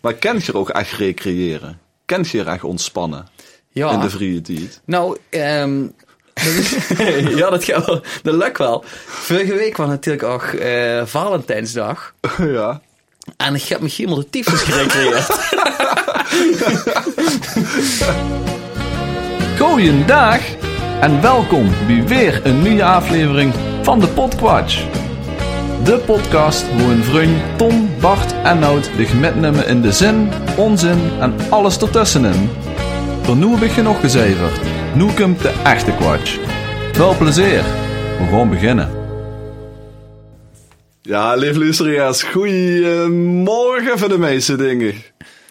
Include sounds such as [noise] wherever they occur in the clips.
Maar kan je er ook echt recreëren? Kan je er echt ontspannen Ja. in de vrije tijd? [laughs] Nou, ehm, [laughs] dat is- ja, dat gaat wel. Dat lukt wel. Vorige week was natuurlijk ook eh, Valentijnsdag. ja. En ik heb me helemaal de tyfus [laughs] gerecreëerd. Goeiedag en welkom bij weer een nieuwe aflevering van de Podquatch. De podcast hoe een vriend Tom, Bart en Nout zich metnemen in de zin, onzin en alles ertussenin. Voor nu heb ik genoeg gezeverd. Nu komt de echte Quatsch. Veel plezier. We gaan beginnen. Ja, lieve luisteraars, goeiemorgen voor de meeste dingen.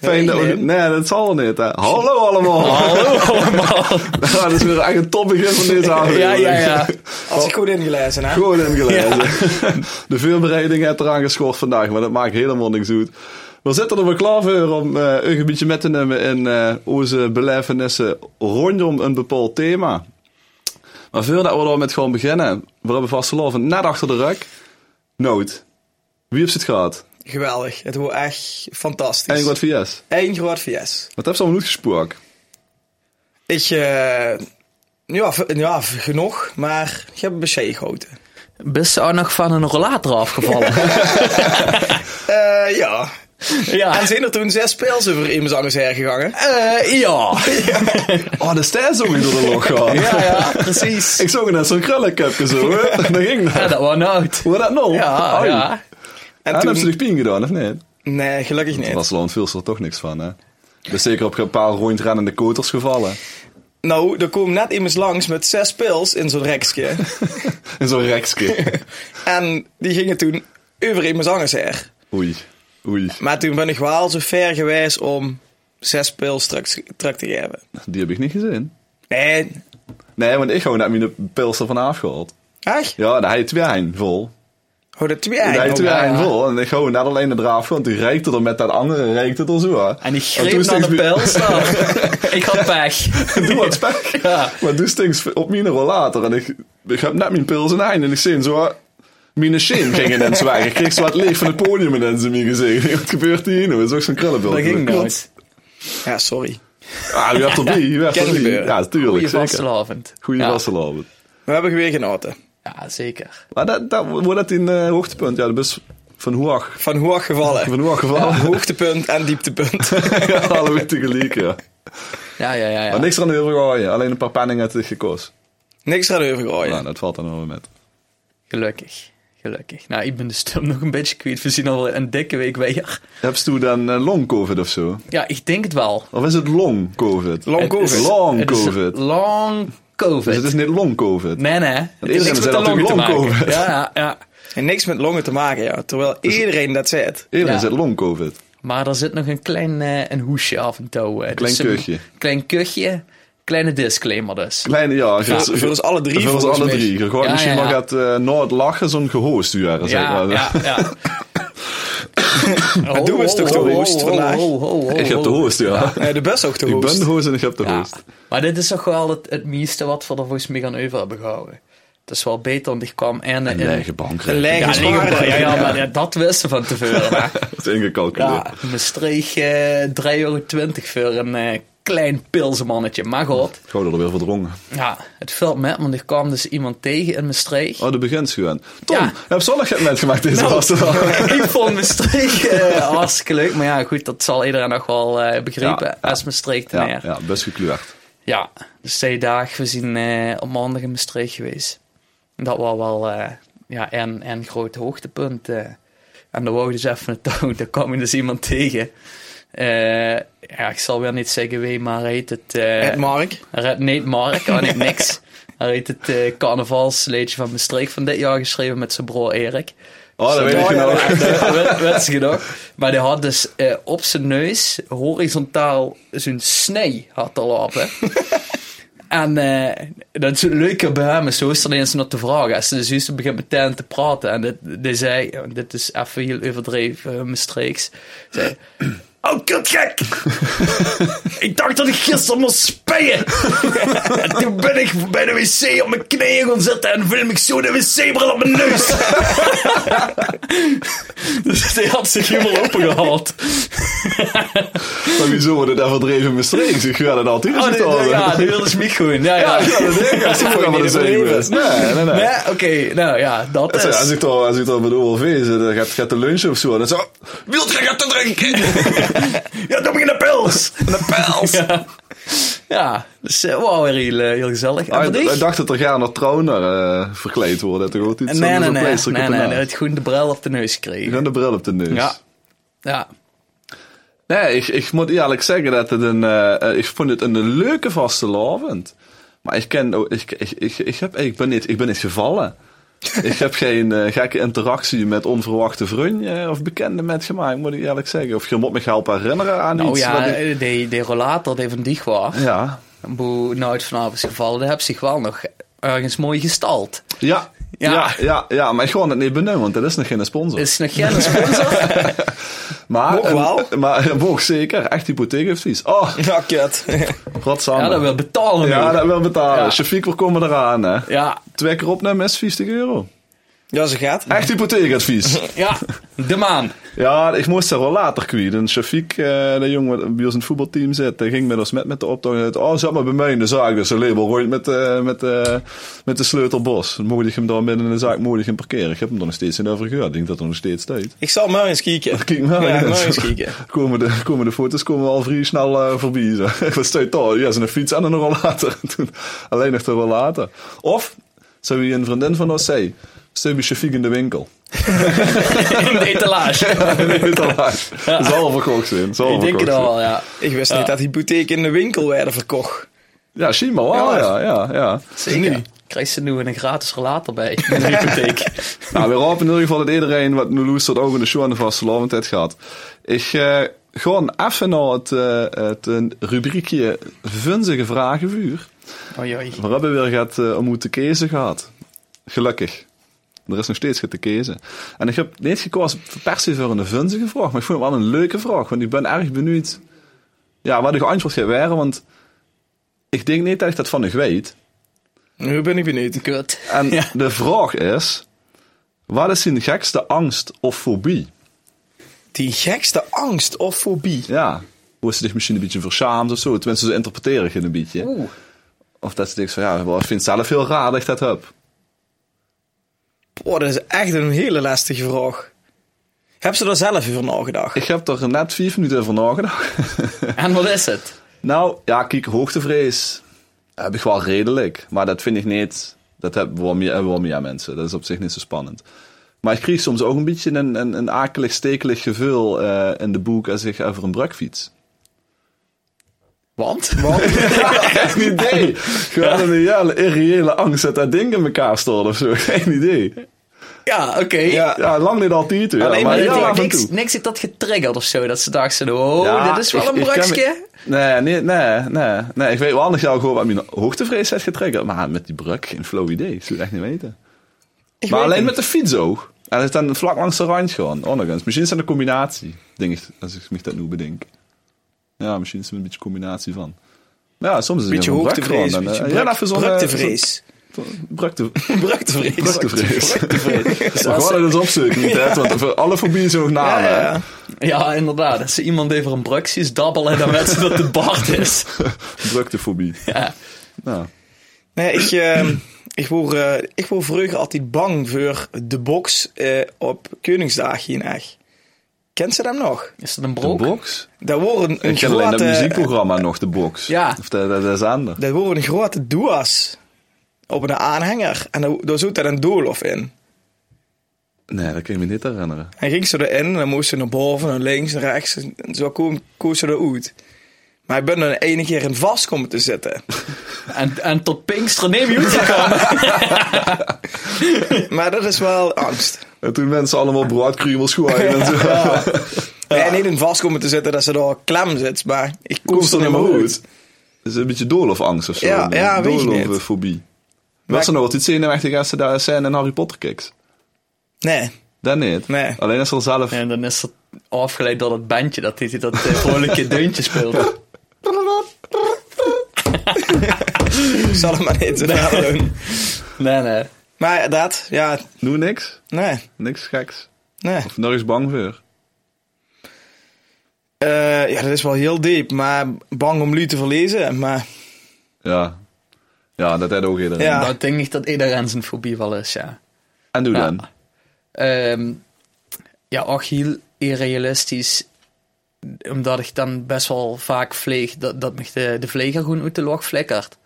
Fijn dat we... Lin. Nee, dat zal niet, hè. Hallo allemaal! Hallo oh, allemaal! [laughs] dat is weer echt een topbegin van deze aflevering. [laughs] ja, ja, ja. [laughs] Als ik goed ingelezen, hè? Gewoon ingelezen. [laughs] De voorbereiding heeft eraan geschort vandaag, maar dat maakt helemaal niks uit. We zitten er weer klaar voor om eh, een gebiedje met te nemen in eh onze belevenissen rondom een bepaald thema. Maar voordat we daarmee gaan beginnen, we hebben vastelovend net achter de rug. Nood. Wie heeft het gehad? Geweldig. Het wordt echt fantastisch. En wat VS. Eén groot VS. Wat heeft ze allemaal gesproken? Ik, eh ja, v- ja, v- genoeg, maar ik heb een BC gehoten. Best zou nog van een rollator [laughs] afgevallen. Eh, ja. ja. En zijn er toen zes speelsen voor iemand anders hergegangen? Eh, ja. Oh, de stijl zo weer door de [laughs] log gaan. ja, ja, precies. Ik zag net zo'n krullenkepje zo, [laughs] hè? Dat ging Ja, dat. dat was nooit. Hoe dat nou? Ja, Ai. ja. En, En hebben ze toen... de pien gedaan, of niet? Nee, gelukkig Nee. niet. Barcelona viel ze er toch niks van, hè? Dus zeker op een paar rondrennende koters gevallen. [laughs] Nou, er kwam net iemand langs met zes speels in zo'n rekje. [laughs] In zo'n rekske. en die gingen toen over iemand anders her. Oei. Oei. Maar toen ben ik wel zo ver geweest om zes speels terug terug te geven. Die heb ik niet gezien. Nee, Nee, want ik gewoon net mijn pils ervan afgehaald. echt? Ja, daar had je twee eind vol. Oh, dat twee. Daar had je Oh, twee ja. eind vol. En ik gewoon net alleen de draaf, want die reikte er met dat andere, reikte er zo. hè. En die toen greep naar de stinkt- pels. [laughs] ik had pech. [laughs] Doe wat spek. Ja. Maar toen stinkt op mijn rollator. En ik, ik heb net mijn pils in eind. En ik zie zo... Mijn shin ging in het zwijgen. Ik kreeg zo wat leeg van het podium in zijn gezicht. [laughs] Wat gebeurt hier nou? Dat is ook zo'n krullenbeeld. Dat ging Klopt. nooit. Ja, sorry. Ah, u hebt er drie. U hebt er Kan drie. gebeuren. Ja, tuurlijk. Goeie Zeker. vastelavond. Goeie ja. vastelavond. We hebben weer genoten. Ja, zeker. Maar dat, dat wordt dat in eh hoogtepunt. Ja, de bus van Hoag. Van hoog gevallen. Van Hoag gevallen. Hoogtepunt en [laughs] dieptepunt. Ja, alle tegelijk, ja. Ja, ja, ja. ja. Maar niks aan de overgooien. Alleen een paar penningen uit het gekozen. Niks aan overgooien. Nou, dat valt dan wel weer met. Gelukkig. Gelukkig. Nou, ik ben de stem nog een beetje kwijt. We zien al een dikke week weer. Heb je toen dan eh, long-covid of zo? Ja, ik denk het wel. Of is het long-covid? Long Het is- COVID. Long Het is covid. Long Dus het is covid. niet long-covid. Nee, nee. Het iedereen niks zei met de altijd longen te long maken. covid. Ja, ja, ja. En niks met longen te maken, ja. Terwijl Dus- iedereen dat zegt. Iedereen Ja. zit long-covid. Maar er zit nog een klein eh, een hoesje af en toe. Klein eh, dus een kuchje. Klein kuchje. Kleine disclaimer dus. Kleine, ja. ge- Voor, voor ons alle drie. Voor ons volgens alle mij. drie. Je gaat Ja, misschien ja, wel ja. gaat eh na het lachen zo'n gehoost u zeg Ja, maar. ja, ja. Maar doe eens toch de host vandaag. [laughs] Ik heb de host, ja. Eh, de best ook te Ik ben hoest. de host en ik heb de Ja. host. Maar dit is toch wel het, het meeste wat we er volgens mij gaan over hebben gehouden. Het is wel beter, want ik kwam en... Een en- lege Een bankrekening. lege Ja, nee, zwaar. ja, ja, maar ja, dat wisten we van tevoren. [laughs] hè. Dat is ingecalculeerd. Ja, Maastricht eh 3,20 euro voor een eh, klein pilsenmannetje. Maar goed, Ik hou er weer verdrongen. ja, het valt met, want er kwam dus iemand tegen in Maastricht. Oh, de beginschuwen. Tom, Ja. heb zonnig het net gemaakt deze Nou, laatste dag. [laughs] ik vond Maastricht eh hartstikke leuk, maar ja, goed, dat zal iedereen nog wel eh, begrijpen. Ja, ja. Als Maastricht Ja, meer. ja, Ja, best gekleurd. dus twee dagen, we zijn eh, op maandag in Maastricht geweest. Dat was wel eh, ja, en, en groot hoogtepunt. eh. En dan wou ik dus even naartoe, daar kwam ik dus iemand tegen. Eh, ja, ik zal weer niet zeggen wie, maar hij heet het... eh, Met Mark. Red Nate Mark, oh nee, niks. Hij heet het eh carnavalsleedje van Maastricht van dit jaar geschreven met zijn broer Erik. Oh, dat weet ik ja, nog. [laughs] Dat werd- werd ze genoeg. Maar die had dus eh, op zijn neus horizontaal zijn snij had al lopen. [laughs] En eh, dat is het leuke bij hem is, zo is er ineens nog te vragen. Als ze dus juist begint meteen te praten en dit, die zei, dit is even heel overdreven, uh, zei, eh, [clears throat] Oh, [laughs] kutgek! ik dacht dat ik gisteren moest [laughs] spijen. en toen ben ik bij de wc op mijn knieën gaan zitten en film ik zo de wc-bril op mijn neus. Dus die had zich helemaal open gehaald. Maar wieso wordt het daar verdreven met streek? Ik ga dat altijd Oh, gezien die- houden. [laughs] ja, die wilde Smit gewoon. Ja, Ja, ja. ja, [laughs] dat denk ik. Dat is ook wel een zin geweest. Nee, nee, nee. Nee, Oké, nou ja, dat Zo, Als is. ik dan, als ik dan met de OLV zit, dan gaat, gaat de lunch of zo. Dan zo, Ah, wilt je gaat te [laughs] drinken? ja, doe me in de pils. De pils. Ja. Ja, dus eh, wauw, weer heel, eh, heel gezellig. En Ah, voor ik- dich? ik dacht dat er gaan naar trouwner eh, verkleed worden. Dat er ook iets Nee, nee, zo'n nee. pleister op Nee, de nee, naam. nee. Het groene bril op de neus Ik gekregen. heb de bril op de neus. Ja. Ja. Nee, ik, ik moet eerlijk zeggen dat het een, eh, eh, ik vond het een leuke vaste avond. Maar ik ken, ook- ik, ik, ik, ik, heb, ik, ben niet, ik ben niet [laughs] gevallen. ik heb geen eh, gekke interactie met onverwachte vrienden eh, of bekenden met gemaakt, moet ik eerlijk zeggen. Of je moet me helpen herinneren aan Nou iets. ja, dus wat ik- eh, die, die rollator die van dich was, ja. boe, nooit vanavond is gevallen, die heb zich wel nog ergens mooi gestald. Ja. Ja. Ja. Ja, ja, maar ik gewoon het niet benoemen, want dat is nog geen sponsor. Is nog geen sponsor? maar, Mocht wel. een- maar mocht zeker, echt hypotheekadvies. Oh, Ja, kut. [laughs] godsamme. Ja, dat wil betalen. Ja, nu. dat wil betalen. Ja. Shafiq, we komen eraan. Hè. ja, Twee keer opnemen is 50 euro. Ja, ze gaat. Echt hypotheekadvies. [laughs] ja, de maan. [laughs] ja, ik moest er wel later kwijt. En Shafiq, eh, de jongen wat bij ons in het voetbalteam zit, die ging met ons met, met de optocht. En zei, Oh, zet maar bij mij in de zaak. Dus een label rond met, eh, met, eh, met de sleutelbos. Dan Moedig hem daar binnen in de zaak, moedig hem parkeren. Ik heb hem er nog steeds in overgehuurd. Ik denk dat er nog steeds staat. Ik zal maar eens kieken. Kijk maar. Ja, Ja, maar zo. eens kieken. [laughs] Komen de, komen de foto's komen al vrij snel eh, voorbij. Zo. [laughs] Wat staat daar? Ja, zijn fiets en een rollator. [laughs] Toen, alleen nog de rollator. Of, zou wie een vriendin van ons zei, steun bij Shafiq in de winkel. [laughs] In de etalage. Weet al waar. Zal verkocht zijn. Zal Ik denk het verkocht zijn. al, ja. Ik wist niet dat hypotheek in de winkel werden verkocht. Ja, Shima, wel, ja, ja, ja. Zeker. Krijg ze nu een gratis relator [laughs] bij in de hypotheek. Nou, we hopen in ieder geval dat iedereen wat nu luistert ook in de show en de vaste lovend heeft gehad. Ik eh gewoon even naar het, eh, het eh, rubriekje vunzige vragenvuur. Oei, oei. We hebben weer gaat, eh, om moeten kezen gehad. Gelukkig. Er is nog steeds te kezen. En ik heb niet gekozen per se voor een vunzige vraag, maar ik vond het wel een leuke vraag. Want ik ben erg benieuwd ja, wat de antwoord gaat waren, want ik denk niet dat ik dat van u weet. Nu ben ik benieuwd. Kut. En Ja. de vraag is, wat is hun gekste angst of fobie? Die gekste angst of fobie. Ja, hoe ze zich misschien een beetje verschaamt of zo. Tenminste, ze interpreteren het een beetje. Oeh. Of dat ze denkt van, ja, wel, ik vind het zelf heel raar dat ik dat heb. Oh, dat is echt een hele lastige vraag. Heb ze er zelf over nagedacht? Ik heb er net vier minuten over nagedacht. En wat is het? Nou, ja, kijk, hoogtevrees heb ik wel redelijk. Maar dat vind ik niet... Dat hebben wel meer, hebben wel meer mensen. Dat is op zich niet zo spannend. Maar ik kreeg soms ook een beetje een, een, een akelig, stekelig gevoel eh, in de boek als ik over een brug fiets. Want? [laughs] Geen [laughs] idee. Gewoon een reële, irreële angst dat dat ding in elkaar stort of zo. [laughs] Geen idee. Ja, oké. Ja, lang niet altijd. Ja, Alleen maar maar ja, dat- af en niks, toe. niks heeft dat getriggerd of zo. Dat ze dachten, oh, Ja, dit is wel ik- een ik ken me- brukje. Nee, nee, nee, nee, nee. Ik weet wel anders jou gewoon wat mijn hoogtevrees heeft getriggerd. Maar met die brug, geen flow idee. Ik zou het echt niet weten. Ik maar weet alleen het met de fiets ook. En het is dan vlak langs de rand gewoon. Oh, nog eens. Misschien is dat een combinatie. Denk ik, als ik me dat nu bedenk. Ja, misschien is het een beetje een combinatie van. Maar ja, soms is het Beetje een brug gewoon. hoogtevrees, Dan, eh, beetje ja, bruk- even zo'n, eh, bruktevrees. zo'n- brukte- [laughs] Bruktevrees. Bruktevrees. [laughs] Bruktevrees. Maar gewoon dat is opzoeken, niet, hè? Want voor alle fobieën zijn ook Ja, namen. ja, hè? ja. Ja, inderdaad. Als ze iemand even een brukje is dabbelen, dan weten ze dat het Bart is. Druktefobie. Ja. Ja. Nee, ik, ehm, ik, word, eh, ik word vroeger altijd bang voor de box eh, op Koningsdag hier in Echt. Kent ze hem nog? Is dat een De brok? box? Daar wordt een, een Ik ken alleen dat grote... muziekprogramma nog, de box. Ja. Of dat, dat, dat is anders. Daar worden een grote doas op een aanhanger. En daar, daar zit daar een doolhof in. Nee, dat kan ik me niet herinneren. En ging ze erin en dan moest ze naar boven, naar links, naar rechts. En zo kwam- koos ze eruit. Maar ik ben er de ene keer in vast komen te [laughs] zitten. En, en tot Pinksteren [laughs] neem je het gaan. Maar dat is wel angst. En toen mensen allemaal broodkriemels gooien [laughs] en zo. En niet in vast komen te zitten dat ze daar klem zit, maar ik koos Komt er er niet maar meer uit. uit. Dat is een beetje doolhofangst of zo. Ja, ja, weet je niet. Doolhoffobie. Maar- Was er nog wat iets zenuwachtig als ze daar zijn en Harry Potter kijkt? Nee. Dat niet. Nee. Alleen als ze er zelf... En dan is dat afgeleid door dat bandje dat hij dat eh, vrolijke deuntje speelt. [laughs] Ik zal het maar niet inderdaad doen. Nee, nee. Maar inderdaad, ja, Doe niks. nee, Niks geks. nee. Of nergens bang voor. Eh, ja, dat is wel heel diep, maar bang om lui te verlezen. Maar Ja. Ja, dat had ook iedereen. Ja. Nou, ik denk niet dat iedereen zijn fobie wel is, ja. En doe Ja. dan. Ehm, ja, ook heel irrealistisch. Omdat ik dan best wel vaak vleeg dat, dat me de, de vleger gewoon uit de log flikkert.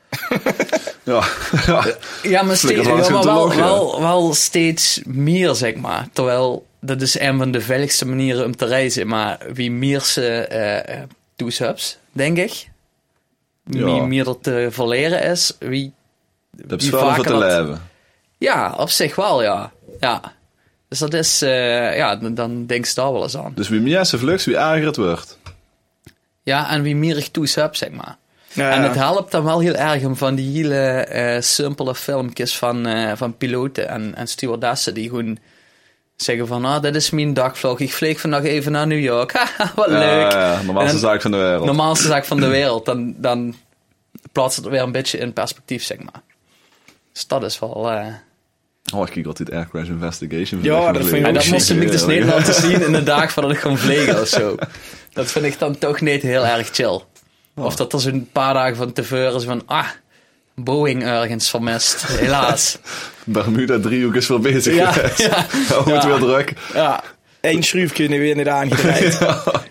Ja. [laughs] ja. Ja, maar, Flikkert steeds, langs maar uit de wel, log, ja. wel, wel steeds meer, zeg maar. Terwijl, dat is een van de veiligste manieren om te reizen. Maar wie meer ze eh, eh, toesups, denk ik. Ja. Wie meer er te verleren is, wie... Dat is wie wel voor vaker te dat- leven. Ja, op zich wel, ja. ja. Dus dat is... eh, ja, dan, dan denk ze daar wel eens aan. Dus wie meer ze vlucht, wie erger het wordt. Ja, en wie mierig toesap, zeg maar. ja, En het helpt dan wel heel erg om van die hele eh, simpele filmpjes van, eh, van piloten en, en stewardessen die gewoon zeggen van, ah, dit is mijn dagvlog, ik vlieg vandaag even naar New York. [laughs] Haha, wat Ja, leuk. ja, ja. normaalste En- zaak van de wereld. Normaalste zaak van de wereld. Dan, dan plaatst het weer een beetje in perspectief, zeg maar. Dus dat is wel... eh, Oh, ik kijk altijd Air Crash Investigation. Ja, dat vind ik En ook dat moest ik dus niet laten [laughs] zien in de dag voordat ik kon vliegen of zo. Dat vind ik dan toch niet heel erg Oh. chill. Of dat er zo'n paar dagen van tevoren is van, ah, Boeing ergens vermist, [laughs] helaas. Bermuda driehoek is wel bezig [laughs] Ja, geweest. ja. Oh, het Ja. weer druk. Ja. Eén schroefje weer niet [laughs] aangedraaid.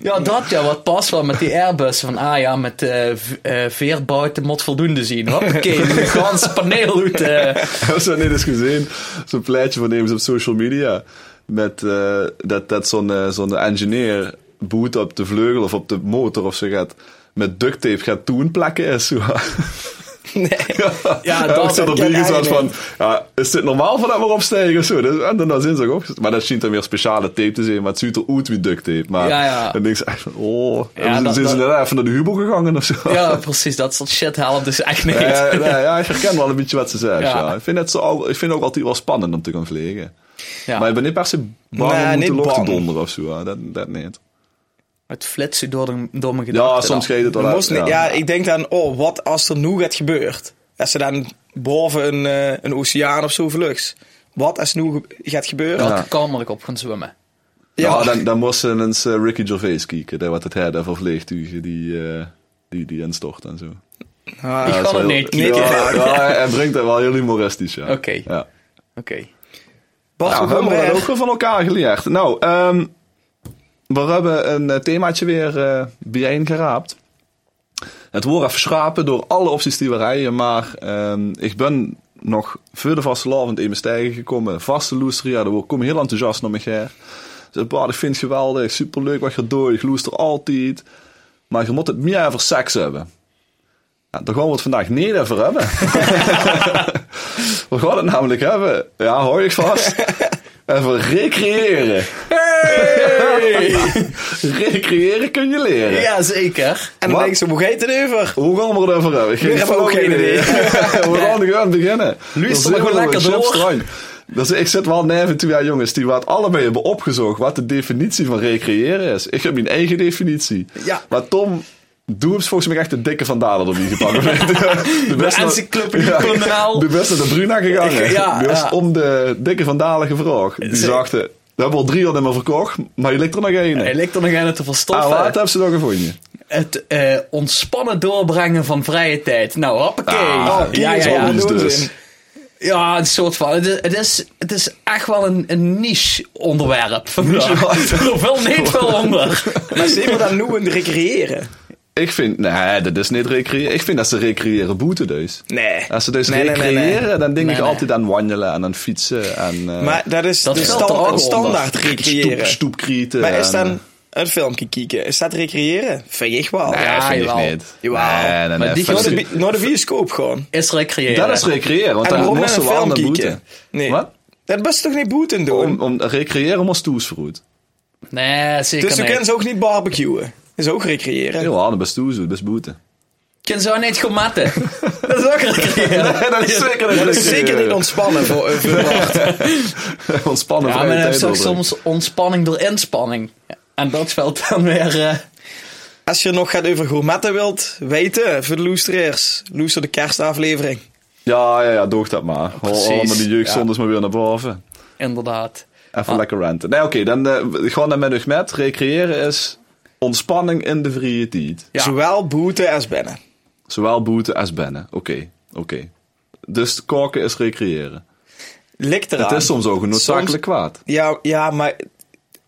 ja, dat ja, wat past wel met die Airbus. Van, ah ja, met eh v- eh, veerbouten moet voldoende [laughs] zien. Hoppakee, een ganse paneel uit. eh. Heb je net eens gezien? Zo'n plaatje van nemen ze op social media. Met eh, dat, dat zo'n eh, zo'n engineer boet op de vleugel of op de motor of zo gaat. Met duct tape gaat toen plakken is. Zo. Ja, Ja, En dat ik zat op ken die jij gezet niet. van, ja, is dit normaal voor dat maar opstijgen of zo? Dus, en dan zin ze ook. Maar dat schijnt dan weer speciale tape te zijn, maar het ziet er uit wie duct tape. Maar Ja, ja. dan denk ze echt van, [laughs] oh, Ja, ja, dat- zijn ze dat- net even naar de hubo gegaan of zo? Ja, precies, dat soort shit helpt dus echt niet. Eh, nee, [laughs] ja, ik herken wel een beetje wat ze zegt. Ja. Ja. Ik, vind het zo, al- ik vind het ook altijd wel spannend om te gaan vliegen. Ja. Maar ik ben niet per se bang Nee, om te niet log te bang. donderen of zo. hè. Dat, dat niet. Het flitsen door, de- door mijn Ja, gedachten. dan. soms geeft het Dat wel moest uit, niet- ja, ik denk dan, oh, wat als er nu gaat gebeurt? Als ze dan boven een, eh, een oceaan of zo vlucht. Wat als nu ge- gaat gebeuren? Dat Ja. ik kamerlijk op gaan zwemmen. Ja, dan, dan moest ze eens eh, Ricky Gervais kijken. Dat wat het had hè, voor vliegtuigen die, eh, die, die instort en zo. Ah, Ik Ja, ga dat is wel- het niet Eh, Ja, kijken. ja, hij brengt dat wel heel humoristisch, ja. Oké. Nou, Ja. Oké. Bart Nou, van we hebben dat Bomberg. ook weer van elkaar geleerd. Nou, ehm, we hebben een eh, themaatje weer eh bijeen geraapt. Het wordt even schrapen door alle opties die we rijden, maar ehm, ik ben nog voor de vaste lavend in mijn stijgen gekomen. Vaste loester, ja, daar word ik- kom heel enthousiast naar mijn her. Dus Bart, ik vind het geweldig, superleuk wat je doet, ik loester altijd. Maar je moet het meer over seks hebben. Ja, daar gaan we het vandaag niet over hebben. [laughs] we gaan het namelijk hebben, ja, hoor je vast, over recreëren. [laughs] recreëren kun je leren. Jazeker. En dan Wat? denk ik zo, hoe gaat het [laughs] over? Hoe gaan we het over hebben? Ik Ik heb flauw ook geen idee. [laughs] we gaan gewoon beginnen. Luister Dan maar zijn we lekker nog een door. chipstrain. Dus ik zit wel neven toe, ja jongens, die wat allebei hebben opgezocht wat de definitie van recreëren is. Ik heb mijn eigen definitie. Ja. Maar Tom Doeps volgens mij echt de dikke van Dalen op die gepakt. de beste encyclopedie Conaal. De beste de Bruna gegaan. Ik- ja, dus ja. om de dikke van Dalen gevraagd. Die Ze- zagen, we hebben al drie al helemaal verkocht, maar je ligt er nog één. Hij lijkt er nog aan het te Ah, verstoffen. wat hebben ze dan gevonden? Het eh, ontspannen doorbrengen van vrije tijd. Nou, hoppakee. Ah, ja, die ja, is ja. al Ons doen ze dus. in. ja, een soort van. Het is, het is, het is echt wel een, een niche onderwerp. [laughs] vandaag. Er [laughs] valt niet veel onder. Maar ze hebben dan nu een recreëren. Ik vind, nee, dat is niet recreëren. Ik vind dat ze recreëren boeten dus. Nee. Als ze dus Nee, nee, nee, recreëren, dan denk Nee, ik nee. altijd aan wandelen en aan fietsen en eh, Maar dat is Dat de geldt stand- er ook een standaard stoep, recreëren. stoepkrieten. Maar is en- dan een filmpje kijken? Is dat recreëren? Vind ik wel. Nee, Ja, vind jawel. ik niet. Jawel. Nee, nee, Maar nee, die vind Naar de, ik- bi- naar de bioscoop gewoon. Is recreëren. Dat is recreëren, want En dan waarom naar moesten een we aan film de kijken? boete. Nee. Wat? Dat best toch niet boeten doen? Om, om recreëren moest toesvergoed. Nee, zeker dus ze niet. kunnen ze ook niet barbecuen. Dat is ook recreëren. Heel hard, best toesvergoed, best boete. Kunnen ze ook niet goed [laughs] matten. Dat is ook recreëren. Nee, dat is zeker niet Dat is zeker niet [laughs] ontspannen voor [laughs] een Ontspannen Ja, vrije maar dan tijd heb je ook doorbrengen. soms ontspanning door inspanning. En dat speelt dan weer... eh, Als je nog gaat over gourmetten wilt weten, voor de loesteraars, loester de kerstaflevering. Ja, ja, ja, doe dat maar. Hol Precies, allemaal die jeugdzondes ja. maar weer naar boven. inderdaad. Even Ah. lekker ranten. Nee, oké, dan eh, gewoon naar met met. Recreëren is ontspanning in de vrije tijd. Ja. Zowel boete als binnen. Zowel boete als bennen. Oké, oké. Dus koken is recreëren. Ligt eraan. Het is soms ook een noodzakelijk kwaad. Ja, ja, maar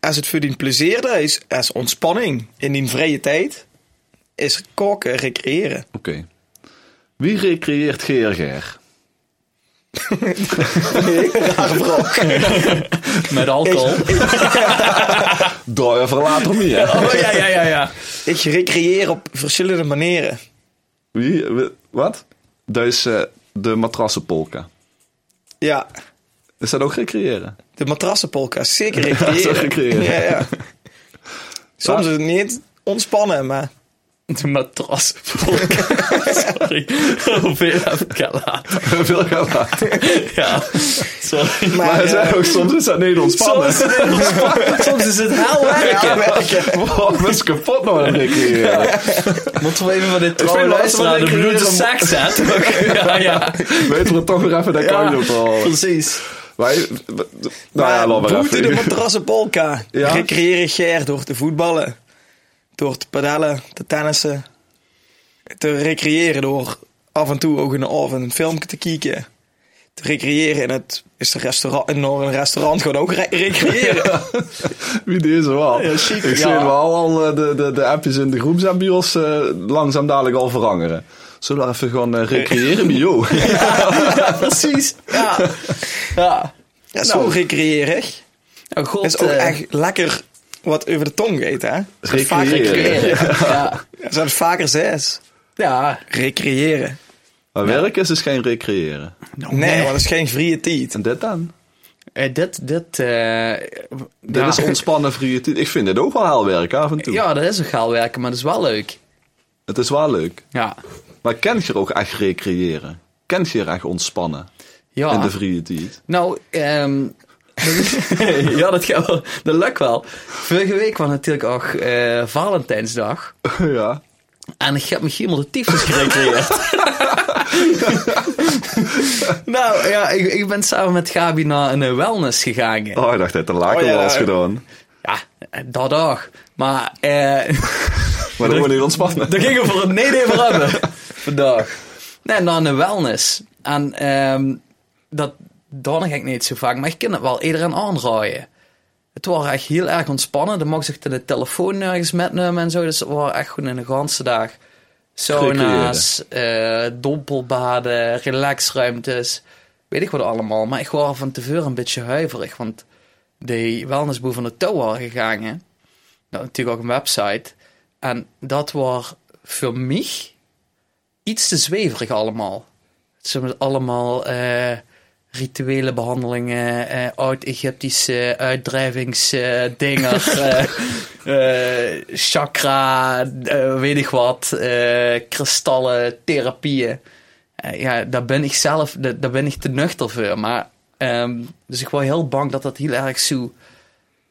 als het voor die plezierde is, als ontspanning in die vrije tijd, is koken recreëren. Oké. Wie recreëert Geerger? Met alcohol. [laughs] Draai even later mee, hè? [laughs] Oh, ja, ja, ja, ja. Ik recreëer op verschillende manieren. Wie? w- Wat? Dat is eh, de matrassenpolka. Ja, Is dat ook recreëren? de matrassenpolka, is zeker recreëren. Dat is recreëren. Ja, ja. Soms is het niet ontspannen, maar De matras. [laughs] Sorry. Oh, Hoeveel heb ik al laten? [laughs] Veel gaan laten. Ja. Sorry. Maar, [laughs] Maar eh, zij ook, soms is dat niet ontspannen. Soms is het ontspannen, soms is het hel werken. [laughs] ja, werken. [laughs] Wow, mensen kapot nou aan het recreëren. Moeten we even van dit trouwe vind wel dat we luisteraar de recreëren bloed de om- zak zetten? [laughs] Ja, ja. Weten we toch weer even dat Ja, kan op al. Precies. Wij, w- w- nou ja, maar laat maar boete de even. matrassenpolka. [laughs] Ja? Recreëren Ger door te voetballen, door te padellen, te tennissen. Te recreëren door af en toe ook in de oven een filmpje te kijken. Te recreëren in het is de restaurant, in een restaurant gewoon ook re- [laughs] recreëren. Wie deze wel. Ja, Ik chic, zie ja. wel al eh, de, de, de appjes in de groepsabios eh langzaam dadelijk al veranderen. Zullen we even gewoon eh, recreëren, [laughs] Mio? Ja, precies. Ja. Ja. Ja, zo Nou. recreëren hè. Oh god. is ook eh, echt lekker wat over de tong weet, hè? Dat is vaak Recreëren. recreëren. Ja. Dat is vaker zes. Ja. Recreëren. Maar werk is dus geen recreëren. Nee, want dat is geen vrije tijd. En dit dan? Eh, dit, dit, eh Dit is ontspannen vrije tijd. Ik vind dit ook wel heel werk af en toe. Ja, dat is ook gaal werken, maar dat is wel leuk. Het is wel leuk. Ja. Maar kent je er ook echt recreëren? Kent je er echt ontspannen Ja. in de vrije tijd? [laughs] Nou, ehm, [laughs] ja, dat gaat wel. Dat lukt wel. Vorige week was natuurlijk ook eh, Valentijnsdag. ja. En ik heb me helemaal de tyfus gerecreëerd. [laughs] nou ja, ik, ik ben samen met Gabi naar een eh, wellness gegaan. Oh, ik dacht dat de laken Oh, ja. was gedaan. Ja, dat ook. Maar eh, [laughs] Maar dan moet je niet ontspannen. daar gingen we voor een nee voor hebben. Vandaag. Nee, naar een wellness. En ehm, dat dan ga ik niet zo vaak. Maar ik kan het wel iedereen aanraaien. Het was echt heel erg ontspannen. Dan mocht zich de telefoon nergens metnemen en zo. Dus het was echt gewoon een ganse dag. Sauna's, eh dompelbaden, relaxruimtes. Weet ik wat allemaal. Maar ik was van tevoren een beetje huiverig. Want die wellnessboer van de touw waren gegaan. hè. Dat is natuurlijk ook een website. En dat was voor mij iets te zweverig allemaal. Ze hebben allemaal eh, rituele behandelingen, eh, oud-Egyptische uitdrijvingsdingen, eh, chakra, eh, weet ik wat, eh, kristallen, therapieën. Eh, ja, daar ben ik zelf, da- daar ben ik te nuchter voor. Maar, ehm, dus ik was heel bang dat dat heel erg zo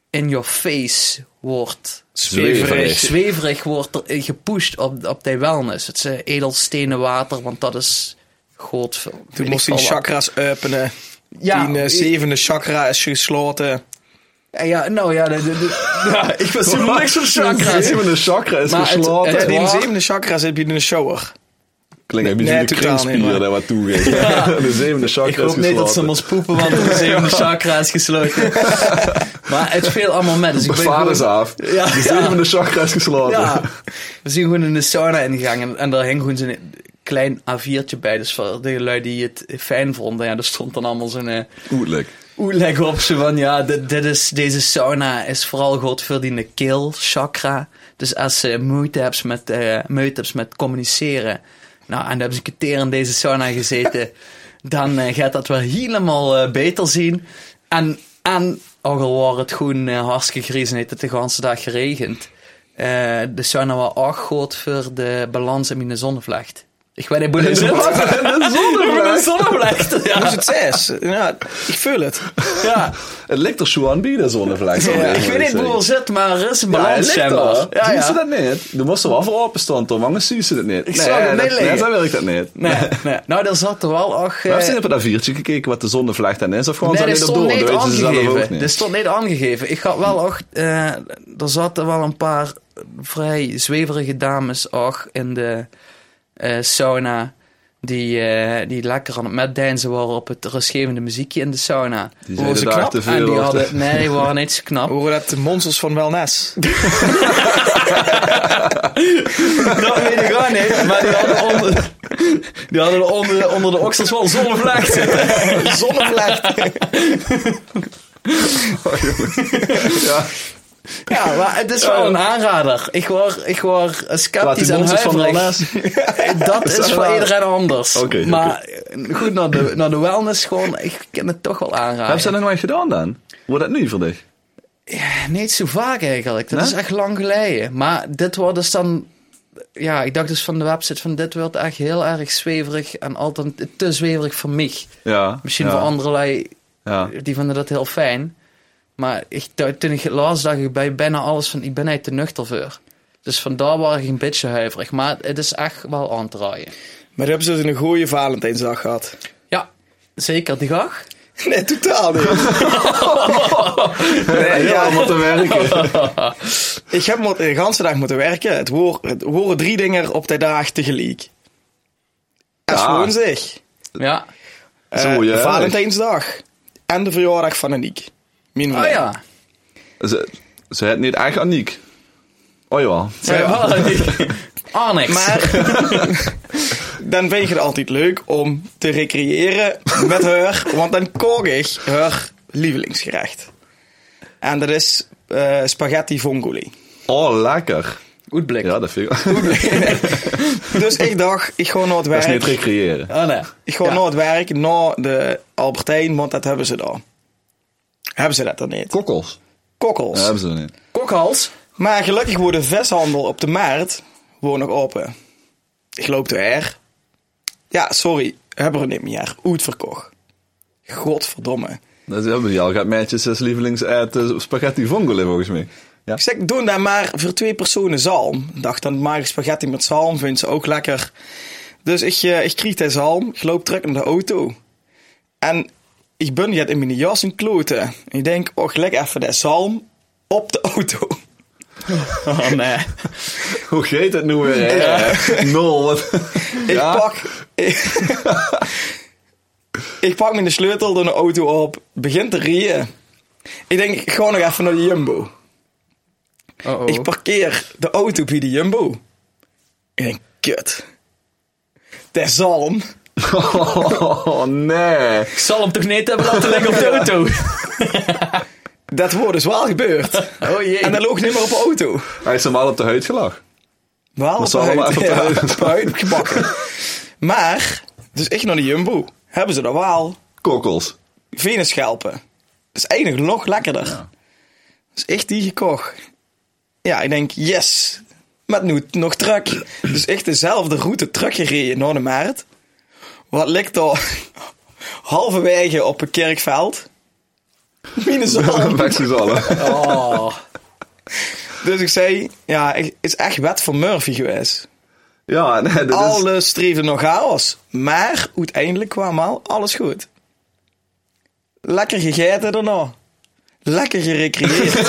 in your face wordt Zweverig. zweverig wordt er eh, gepusht op, op die wellness. Het is eh, edelstenen water, want dat is goed. Toen moest hij chakras openen. Ja, die eh, zevende chakra is gesloten. ja, nou ja, de, de, de- [laughs] ja, ik was helemaal niks van [laughs] [laughs] chakras. Even een chakra is Maar het- gesloten. het- Ja, die waar? zevende chakra zit in de shower. Klinkt een beetje Nee, de totaal niet, kringspier maar- daar wat [laughs] toe ging. [laughs] De zevende chakra Ik hoop is niet dat ze gesloten. ons poepen, want de [laughs] zevende chakra is [laughs] gesloten. maar het viel allemaal met. Dus ik Mijn ben vader is gewoon- af. Ja, de ja. zevende chakra is gesloten. Ja, we zijn gewoon in de sauna ingegaan en, en daar hing gewoon zo'n klein A4'tje bij. Dus voor de lui die het fijn vonden, ja, er stond dan allemaal zo'n... eh, [laughs] Oetlijk. Oeleg op ze van ja, dit, dit is, deze sauna is vooral goed voor die keel chakra. Dus als ze moeite hebt met, eh, moeite hebt met communiceren, nou, en dan hebben ze een keer in deze sauna gezeten, dan eh, gaat dat wel helemaal eh, beter zien. En, en ook al was het gewoon eh, hartstikke gries en heeft het de ganse dag geregend, eh, de sauna was ook goed voor de balans in mijn zonnevlecht. Ik ben in Boeddhist. Wat? Ik En de ben een zonnebrand. zonnevlecht. Dat is Ja. het zes. [laughs] Ja, ik vul het. ja. Het ligt er zo aan bij, de zonnevlek. zou ik willen weet niet zeggen. hoe het zit, maar er is een Ja, hij balans. ligt schijnbaar. er. Ja, Zien ze ja. dat niet? Er moest er wel voor openstaan, Tom, anders zien ze het niet. Ik zou het niet dat, liggen. nee, zo werkt dat niet. Nee, nee. Nou, daar zat er wel. Ach, We eh, hebben op dat viertje gekeken wat de zonnevlek dan is, of gewoon zo Nee, dat niet op stond door, niet dat weten ze zelf ook aangegeven. niet. Dat [laughs] stond niet aangegeven. Ik had wel ook, eh, er zaten wel een paar vrij zweverige dames ook in de eh, sauna. Die, eh, die lekker aan het metdeinzen waren op het rustgevende muziekje in de sauna. Die zeiden Horen ze daar knap? te en veel die over. hadden, nee, die waren niet zo knap. [laughs] We horen dat de monsters van Welnes. [laughs] Dat weet ik ook niet. Maar die hadden onder, die hadden onder, onder de oksels wel zonnevlecht zitten. Zonnevlecht. Ja, maar het is [laughs] wel een aanrader. Ik word, ik word Laat sceptisch die en monsters van huiverig. Welnes. [laughs] Dat [laughs] is voor iedereen anders. Oké, oké. maar eh, goed, naar de, naar de wellness gewoon, ik kan het toch wel Hebben ze aanraden. dat nog nooit gedaan dan? Wordt dat nu voor dich? Eh, Niet zo vaak eigenlijk, dat Nee? is echt lang geleden. Maar dit wordt dus dan, ja, ik dacht dus van de website van dit wordt echt heel erg zweverig en altijd te zweverig voor mij. Ja. Misschien ja, voor anderlei, Ja. die vonden dat heel fijn. Maar ik, toen ik het las, dacht ik bij bijna alles van, ik ben hij te nuchter voor. Dus vandaar was ik een beetje huiverig. Maar het is echt wel aan te draaien. Maar dan hebben ze dus een goede Valentijnsdag gehad. Ja, zeker die dag. [laughs] Nee, totaal niet. Ja, [laughs] Nee, ja, allemaal te werken. [laughs] ik heb mo- de ganse dag moeten werken. Het woor- het horen drie dingen op de dag tegelijk. Dat is Ja. gewoon zeg. Ja. Eh, Zo, ja. Valentijnsdag. En de verjaardag van Aniek. Mijn Oh vriend. ja. [laughs] Ze, ze het niet echt aniek. Oh ja. ja. [laughs] Annex. Maar [laughs] dan vind je het altijd leuk om te recreëren met haar, want dan kook ik haar lievelingsgerecht. En dat is eh, spaghetti vongoli. Oh, lekker. goed blik. Ja, dat vind ik... [laughs] Dus ik dacht, ik ga naar het Dat is niet werk. recreëren. Oh, nee. Ik ga naar het werk, naar de Albertijn, want dat hebben ze dan. Hebben ze dat dan niet? Kokkels. Ja, Kokkels. hebben ze niet. Kokhals. Maar gelukkig wordt de vishandel op de markt gewoon nog open. Ik loop er. Ja, sorry, hebben we het niet meer. Oet verkocht. Godverdomme. Dat hebben die al. Gaat meisjes zes lievelings uit eh, spaghetti vongole volgens mij. Ja. Ik zeg, doe dan maar voor twee personen zalm. Ik dacht, dan maak ik spaghetti met zalm, vindt ze ook lekker. Dus ik, eh, ik kreeg de zalm, ik loop terug naar de auto. En ik ben net in mijn jas en kloten. Ik denk, och, leg even de zalm op de auto. Oh nee. [laughs] Hoe geet het nu weer? hè? [laughs] Nul. Wat... Ja. Ik pak. ik pak mijn sleutel door de auto op. Begin te rijden. Ik denk, ik ga nog even naar de Jumbo. Oh, oh. Ik parkeer de auto bij de Jumbo. Ik denk, kut. De zalm. Oh nee. Ik zal hem toch niet hebben laten liggen op de auto. Dat wordt dus wel gebeurd. Oh jee. En dan loog ik niet meer op de auto. Hij is hem al op de huid gelachen. Wel op zal allemaal even op de ja, huid. op de huid gebakken. Maar, dus ik naar de Jumbo. Hebben ze dat wel. Kokkels. venenschelpen. Dat is eigenlijk nog lekkerder. Dus echt die gekocht. Ja, ik denk, yes. Met nu nog truck. Dus echt dezelfde route teruggereden naar de markt. Wat ligt er [laughs] halverwege op een kerkveld? [laughs] Minusal. Weg ze allen. Oh. Dus ik zei, ja, ik- het is echt wet voor Murphy geweest. Ja, nee, dit is... Alles streefde nog chaos. Maar uiteindelijk kwam al alles goed. Lekker gegeten daarna. Lekker [laughs] gerecreëerd.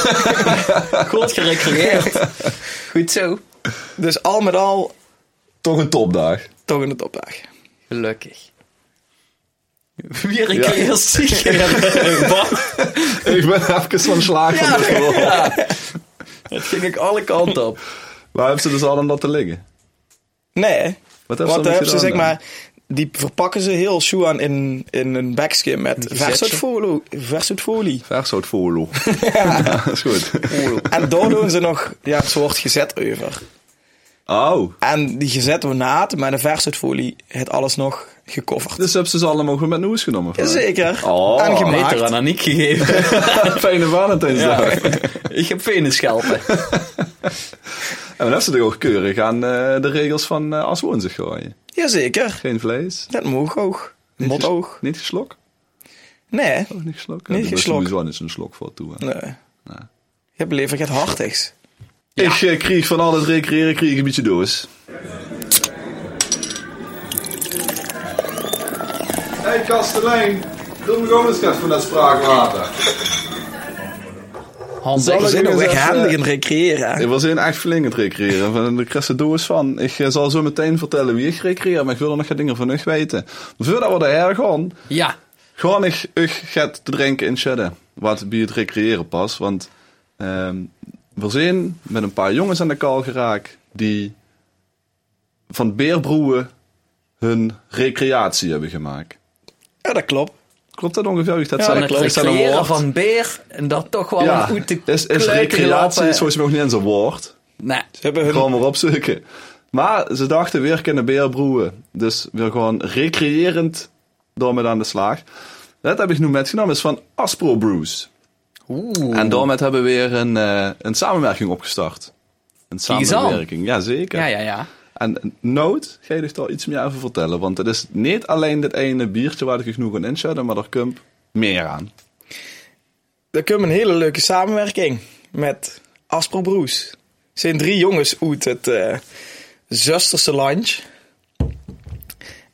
Goed gerecreëerd. Goed zo. Dus al met al toch een topdag. toch in de topdag. Gelukkig. Wie recreëert [laughs] zich? Wat? Ik ben even van slaag van de school. Dat ging ik alle kanten op. [laughs] Waar hebben ze dus al aan dat te liggen? Nee, Wat want dan daar hebben ze zeg gedaan maar... Die verpakken ze heel Shuan in, in een bakje met Een verzoetfolie. verzoetfolie. dan? Versoort [laughs] voorlo. Ja. Dat is goed. En daar doen ze nog ja, een soort gezet over. Oh. En die gezet wordt naad, maar de verzoetfolie heeft alles nog gecoverd. Dus hebben ze ze allemaal gewoon met nieuws genomen? vraag ik. Zeker. Oh. Aangemaakt. Beter aan Aniek gegeven. [laughs] Fijne Valentijnsdag. En ik heb venen schelpen. dan hebben ze toch ook keurig aan eh, de regels van eh als woon zich gooien. Jazeker, Geen vlees. dat mag ook. Niet Mot ges- ook. Niet geslokt? Nee, Oh, niet geslokt? Niet daar geslokt. moest je wel eens een slok voor toe. hè. nee. Je hebt leven gaat hartigs. Ik eh, kreeg van al het recreëren kreeg ik een beetje doos. Hé hey, Kastelein, doe me gewoon eens van dat spraakwater. Handig. Zal We ik zijn nog eens echt even- handig in recreëren. Ik was in echt flink aan het recreëren. Van, Daar krijg je doos van. Ik eh, zal zo meteen vertellen wie ik recreëer, maar ik wil er nog geen dingen van u weten. Voordat we daar gaan, Ja. Gewoon ik, ik gaat te drinken in Shedden. Wat bij het recreëren pas. Want ehm, we zijn met een paar jongens aan de kal geraakt. die van beerbroeien hun recreatie hebben gemaakt. Ja, dat klopt. Klopt dat ongeveer? Hoe ik dat Ja, zei? Van het Klopt, is dat een recreëren woord? van beer. En dat toch wel Ja, een goede is, is kleur recreatie klappen. is volgens mij nog niet eens een woord. Nee. Ze hebben hun Gewoon maar opzoeken. Maar ze dachten weer kunnen beerbroeien. Dus weer gewoon recreërend daarmee aan de slag. Dat heb ik nu metgenomen. is van Aspro Brews. Oeh. En daarmee hebben we weer een, eh, een samenwerking opgestart. Een aan. samenwerking, ja zeker. Ja, ja, ja. En Nood, ga je er daar iets meer over vertellen? Want het is niet alleen dat ene biertje waar ik genoeg aan inzette, maar er komt meer aan. Er komt een hele leuke samenwerking met Aspro Broes. Het zijn drie jongens uit het eh, zusterse lunch.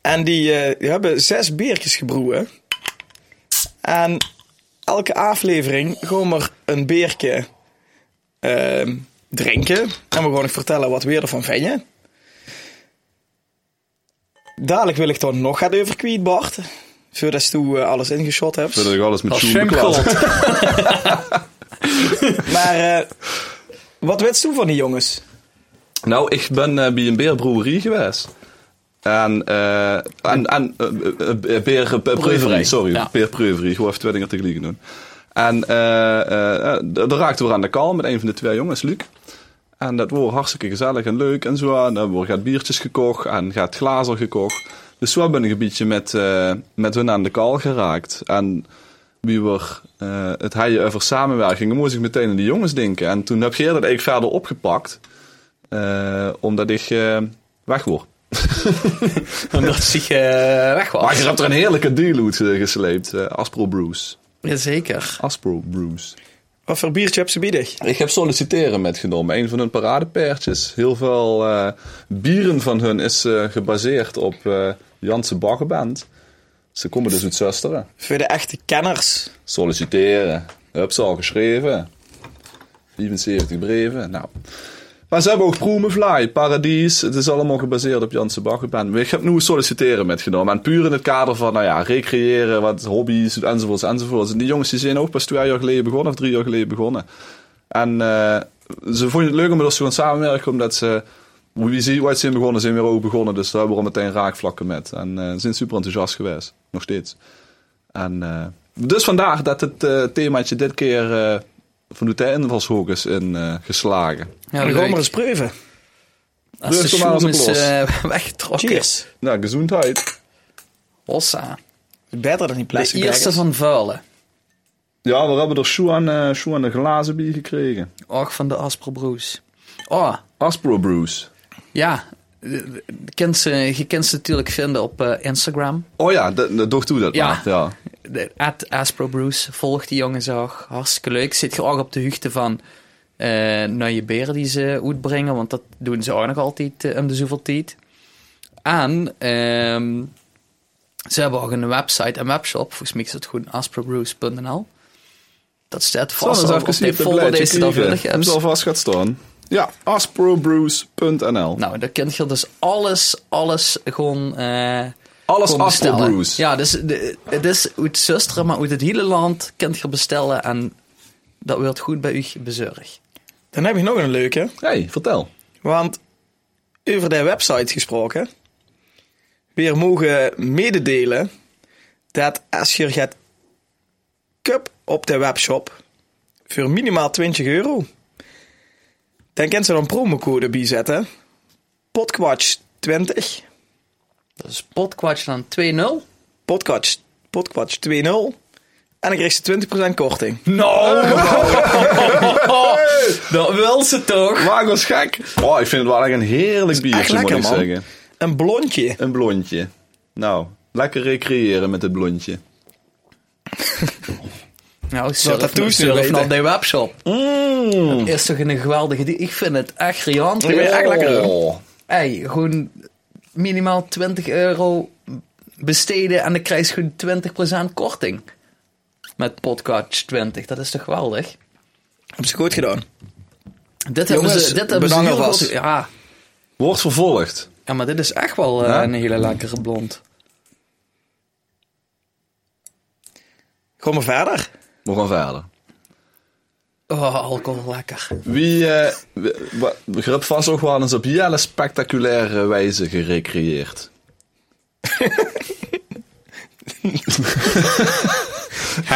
En die eh, die hebben zes biertjes gebroeien. En elke aflevering gewoon maar een beertje ehm, drinken. En we gaan nog vertellen wat we ervan vinden. Dadelijk wil ik dan nog gaan over kwiet, Bart. Voordat je eh, alles ingeschot hebt. Zodat ik alles met Als Sjoen Schemkeld. beklaad. Maar eh, wat weet je van die jongens? Nou, ik ben eh, bij een beerbrouwerie geweest. En, eh en, en eh, eh, eh, beer, eh, brouwerij, sorry, Ja. beerpreuverie, gewoon even twee dingen tegelijk doen. En eh, eh, eh, d- daar raakten we aan de kal met een van de twee jongens, Luc. En dat wordt hartstikke gezellig en leuk en zo. En er wordt gaat biertjes gekocht en gaat glazen gekocht. Dus zo ben ik een beetje met, eh, met hun aan de kal geraakt. En wie we eh, het hadden over samenwerking, dan moest ik meteen aan die jongens denken. En toen heb jij dat ik verder opgepakt. Eh, omdat ik eh, weg word. Omdat zich eh, weg was. Maar Oh, je hebt er een heerlijke deal uit eh, gesleept. eh, Aspro Bruce. Jazeker. Aspro Bruce. Wat voor biertje heb ze biedig? Ik heb solliciteren metgenomen. Een van hun paradepaardjes. Heel veel eh, bieren van hun is eh, gebaseerd op eh Janse Baggenband. Ze komen dus uit Zusteren. Voor de echte kenners. Solliciteren. Heb ze al geschreven. 75 brieven. Nou. Maar ze hebben ook Proemenvlaai, Paradies. Het is allemaal gebaseerd op Janse Baggenband. Ik heb nu solliciteren metgenomen. En puur in het kader van, nou ja, recreëren, wat hobby's, enzovoorts, enzovoorts. En die jongens die zijn ook pas twee jaar geleden begonnen, of drie jaar geleden begonnen. En eh, ze vonden het leuk om met ons te gaan samenwerken, omdat ze... Wie ziet wat zijn begonnen, zijn weer ook begonnen. Dus daar hebben we al meteen raakvlakken met. En eh, ze zijn super enthousiast geweest. Nog steeds. En, eh, dus vandaar dat het eh, themaatje dit keer eh, van de invalshoek is in, eh, geslagen. Ja, Dan leuk. gaan we eens proeven. Als de Rust maar als schoen een is blos. eh, weggetrokken. Cheers. Nou, gezondheid. Hossa. Beter dan die De plastic eerste baggers. van vuilen. Ja, we hebben er Sjoe aan, eh, Sjoe aan de glazen bier gekregen. Och, van de Aspro Broes. Oh, Aspro Bruce. ja. Je kent ze, je kent ze natuurlijk vinden op eh, Instagram. Oh ja, dat, dat, toch doe dat Ja. maar. Ja. De- At Aspro Broes. Volg die jongens ook. Hartstikke leuk. Zit je ook op de hoogte van eh nieuwe beren die ze uitbrengen. Want dat doen ze ook nog altijd eh, om de zoveel tijd. En ehm, ze hebben ook een website en webshop. Volgens mij is dat goed. asprobrews.nl Dat staat Zo, dan vast zou op, ik op eens de even folder blijtje deze dag willig krijgen. Hem zal vast gaat staan. Ja, asprobrews.nl Nou, dan kun je dus alles, alles gewoon... eh, Alles kon bestellen. Astrobrews. Ja, dus de, het is uit zusteren, maar uit het hele land kunt je bezorgen en dat wordt goed bij u bezorgd. Dan heb je nog een leuke. Hey, vertel. Want over de website gesproken. Weer mogen mededelen dat als je gaat cup op de webshop voor minimaal 20 euro. Dan kan ze er een promocode bij zetten. Podquatch 20. Dat is potkwatch dan 2-0. Podcast, podcast 2.0. En dan kreeg ze 20% korting. Nou! dat wil ze toch? Waag was gek. Oh, ik vind het wel echt een heerlijk biertje, echt lekker, moet ik man. zeggen. En Een blondje. Een blondje. Nou, lekker recreëren met het blondje. Nou, surf, tattoos nu surf weten. naar die webshop. Mmm. Is toch een geweldige... die- Ik vind het echt riant. Oh. Ik ben echt lekker. hoor. Oh. Ey, gewoon minimaal 20 euro besteden en dan krijg je gewoon 20% korting. Met podcast 20, dat is toch geweldig? Hebben ze goed gedaan. Dit hebben Jongens, ze, dit hebben ze bedankt heel alvast. goed- ja. Wordt vervolgd. ja, maar dit is echt wel eh, Ja? een hele lekkere blond. Gewoon maar verder. We gaan verder. Oh, alcohol, lekker. Wie, eh we- wa- we hebben vast ook wel eens op hele spectaculaire wijze gerecreëerd.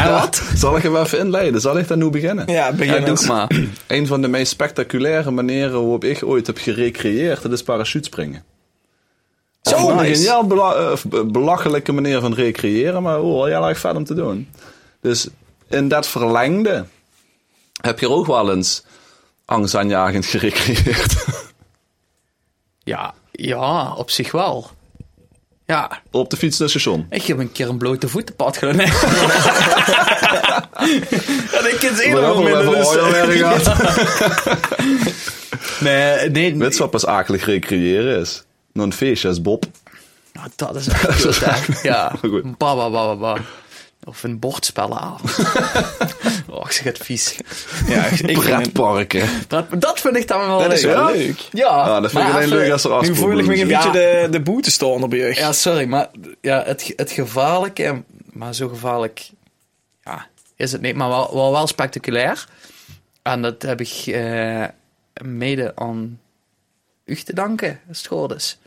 Wat? [laughs] Zal ik hem even inleiden? Zal ik daar nu beginnen? Ja, Ja, begin doe eens. het maar. [clears throat] Een van de meest spectaculaire manieren waarop ik ooit heb gerecreëerd, dat is parachutespringen. Zo, Zo een nice. geniaal bela- eh, be- belachelijke manier van recreëren, maar oh, heel erg vet om te doen. Dus in dat verlengde heb je ook wel eens angstaanjagend [laughs] gerecreëerd. Ja, ja, op zich wel. Ja, Op de fiets naar het station. ik heb een keer een blote voetenpad gedaan. Nee. [laughs] dat ik het eerder Waarom moment hebben we dus- oil [laughs] weer gehad? Nee, nee. Weet je wat pas akelig recreëren is? Nou, een feestje als Bob. Nou, dat is [laughs] echt kut, hè? Ja, Goed. ba, ba, ba, ba, ba. Of een bordspellenavond. [laughs] oh, ik zeg het vies. Ja, ik vind het- Pretparken. Dat, dat vind ik dan wel Dat leuk. is wel ja. leuk. Ja, Ah, dat vind ik maar alleen even- leuk als er Nu afspraken voel ik me een Ja. beetje de, de boetestorm op je rug. Ja, sorry, maar ja, het, ge- het gevaarlijke, en- maar zo gevaarlijk ja, is het niet, maar wel, wel, wel spectaculair. En dat heb ik eh, mede aan u te danken, als het goed is.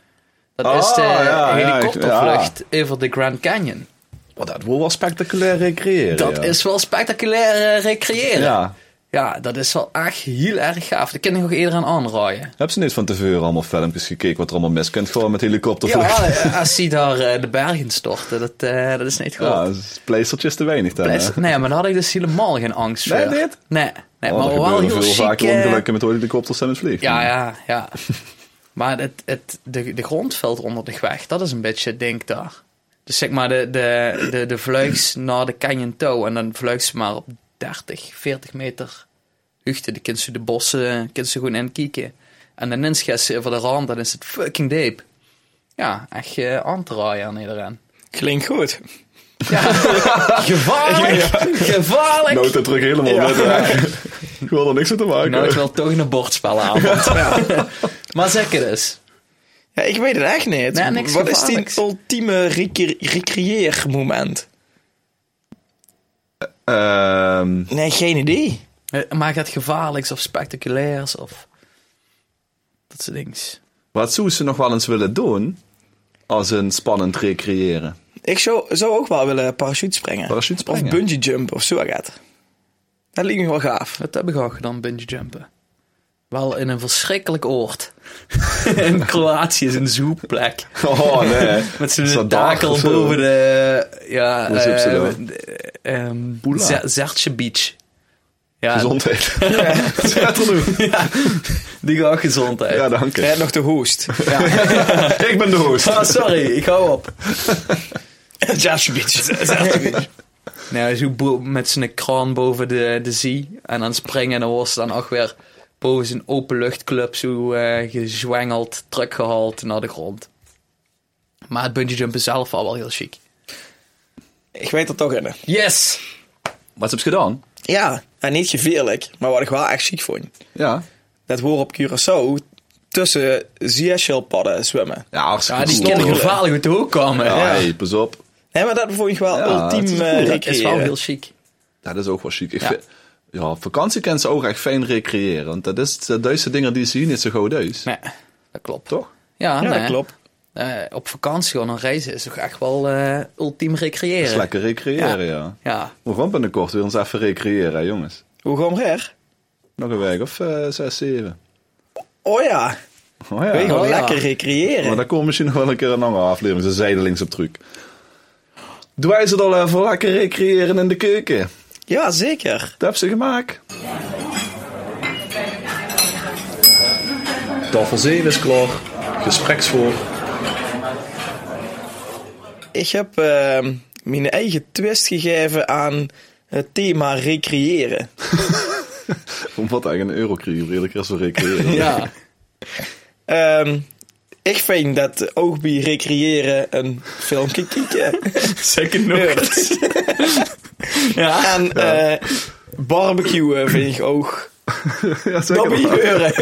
Dat Ah, is de ja, ja, helikoptervlucht over de Grand Canyon. Oh, Maar dat wil wel spectaculair recreëren. Dat ja. is wel spectaculair eh, recreëren. Ja. Ja. dat is wel echt heel erg gaaf. Dat kan ik nog iedereen aanraaien. Heb ze niet van tevoren allemaal filmpjes gekeken wat er allemaal mis kunt? Gewoon met [laughs] helikoptervlucht. Ja, eh, als die daar eh, de bergen storten, dat, eh, dat is niet goed. Ja, dus pleistertjes te weinig dan. hè? Oh, Pleister- Nee, maar daar had ik dus helemaal geen angst voor. Nee, dit? Nee, nee Oh, maar er wel heel gebeuren veel chic. vaker eh, ongelukken met helikopters en het vliegen. Ja, ja, ja. [laughs] maar het, het, de, de grond valt onder de weg. Dat is een beetje het ding daar. Dus zeg maar de, de, de, de vlugs naar de canyon toe. En dan vlugs maar op 30, 40 meter hoogte. Dan kun je de bossen kun je gewoon inkijken. En dan inschets je over de rand. Dan is het fucking deep. Ja, echt eh, aan te raaien aan iedereen. Klinkt goed. [laughs] Gevaarlijk! Gevaarlijk! Nood dat terug helemaal met. [laughs] hè. Ik wil er niks mee te maken. Nou, ik wil toch [laughs] een bordspellenavond. [laughs] maar zeker dus. Ja, ik weet het echt niet. Nee, niks Wat is die gevaarlijks. ultieme recre- recreëermoment? Ehm, Nee, geen idee. Eh, Maar het gevaarlijks of spectaculairs of... Dat soort dings. wat zou ze nog wel eens willen doen als een spannend recreëren? Ik zou, zou ook wel willen parachute springen. Parachute Of springen. bungee jump of zo. gaat. Dat lijkt me wel gaaf. Dat heb ik ook gedaan, bungee jumpen. Wel in een verschrikkelijk oord. [laughs] in Kroatië is een zoekplek. Oh [laughs] nee. Met zo'n Zo'n dag dakel of zo. boven de... Ja, Hoe zoek ze eh, dat? de- ehm, Pula. Zer- Zertje Beach. Ja, [laughs] Gezondheid. Dat is wat er doen. die gaat gezondheid. Ja, dank Jij je. hebt nog de hoest. [laughs] Ik ben de host. Ah, sorry, ik hou op. [laughs] Alsjeblieft. Nou, zo bo- met zijn kraan boven de, de zee. En dan springen en dan was dan ook weer boven zijn openluchtclub zo eh gezwengeld, teruggehaald naar de grond. Maar het bungee jumpen zelf al wel heel chic. ik weet er toch in. Yes! Wat heb je gedaan? Ja, en niet geveerlijk, maar wat ik wel echt chic vond. Ja. Dat hoor op Curaçao tussen zeeschildpadden zwemmen. Ja, hartstikke Ja, die cool. kennen cool. gevaarlijk met de hoek komen. Ja, Ja, hey, pas op. Nee, maar dat vond ik wel Ja, ultiem het is eh, cool. dat is wel recreëren. heel chic. Ja, dat is ook wel chic. Ik Ja. vind- ja. op vakantie kan ze ook echt fijn recreëren. Want dat is de Duitse dingen die ze hier niet zo gauw deus. Nee, dat klopt. Toch? Ja, Ja, dat nee. klopt. Eh, op vakantie gewoon een reizen is toch echt wel eh, ultiem Dat is recreëren. lekker recreëren, ja. Ja, We gaan binnenkort weer eens even recreëren, hè, jongens. Hoe gaan we er? Nog een week of eh, zes, zeven. Oh ja, Oh ja. weet je wel, Oh ja. lekker recreëren. Maar daar komt misschien nog wel een keer een andere aflevering. Ze zijdelings op truc. Doen wij ze dan even lekker recreëren in de keuken? Ja, zeker. Dat hebben ze gemaakt. Tafel 7 is klaar. Gespreksvoor. ik heb eh, mijn eigen twist gegeven aan het thema recreëren. Om wat eigenlijk een eurocrimineel is voor [laughs] recreëren. [laughs] Ja. Ehm, ik vind dat ook bij recreëren een [laughs] filmpje kieken. Second nooit. ja. En eh, barbecuen vind ik ook. Ja, Dat ben wel. je euren.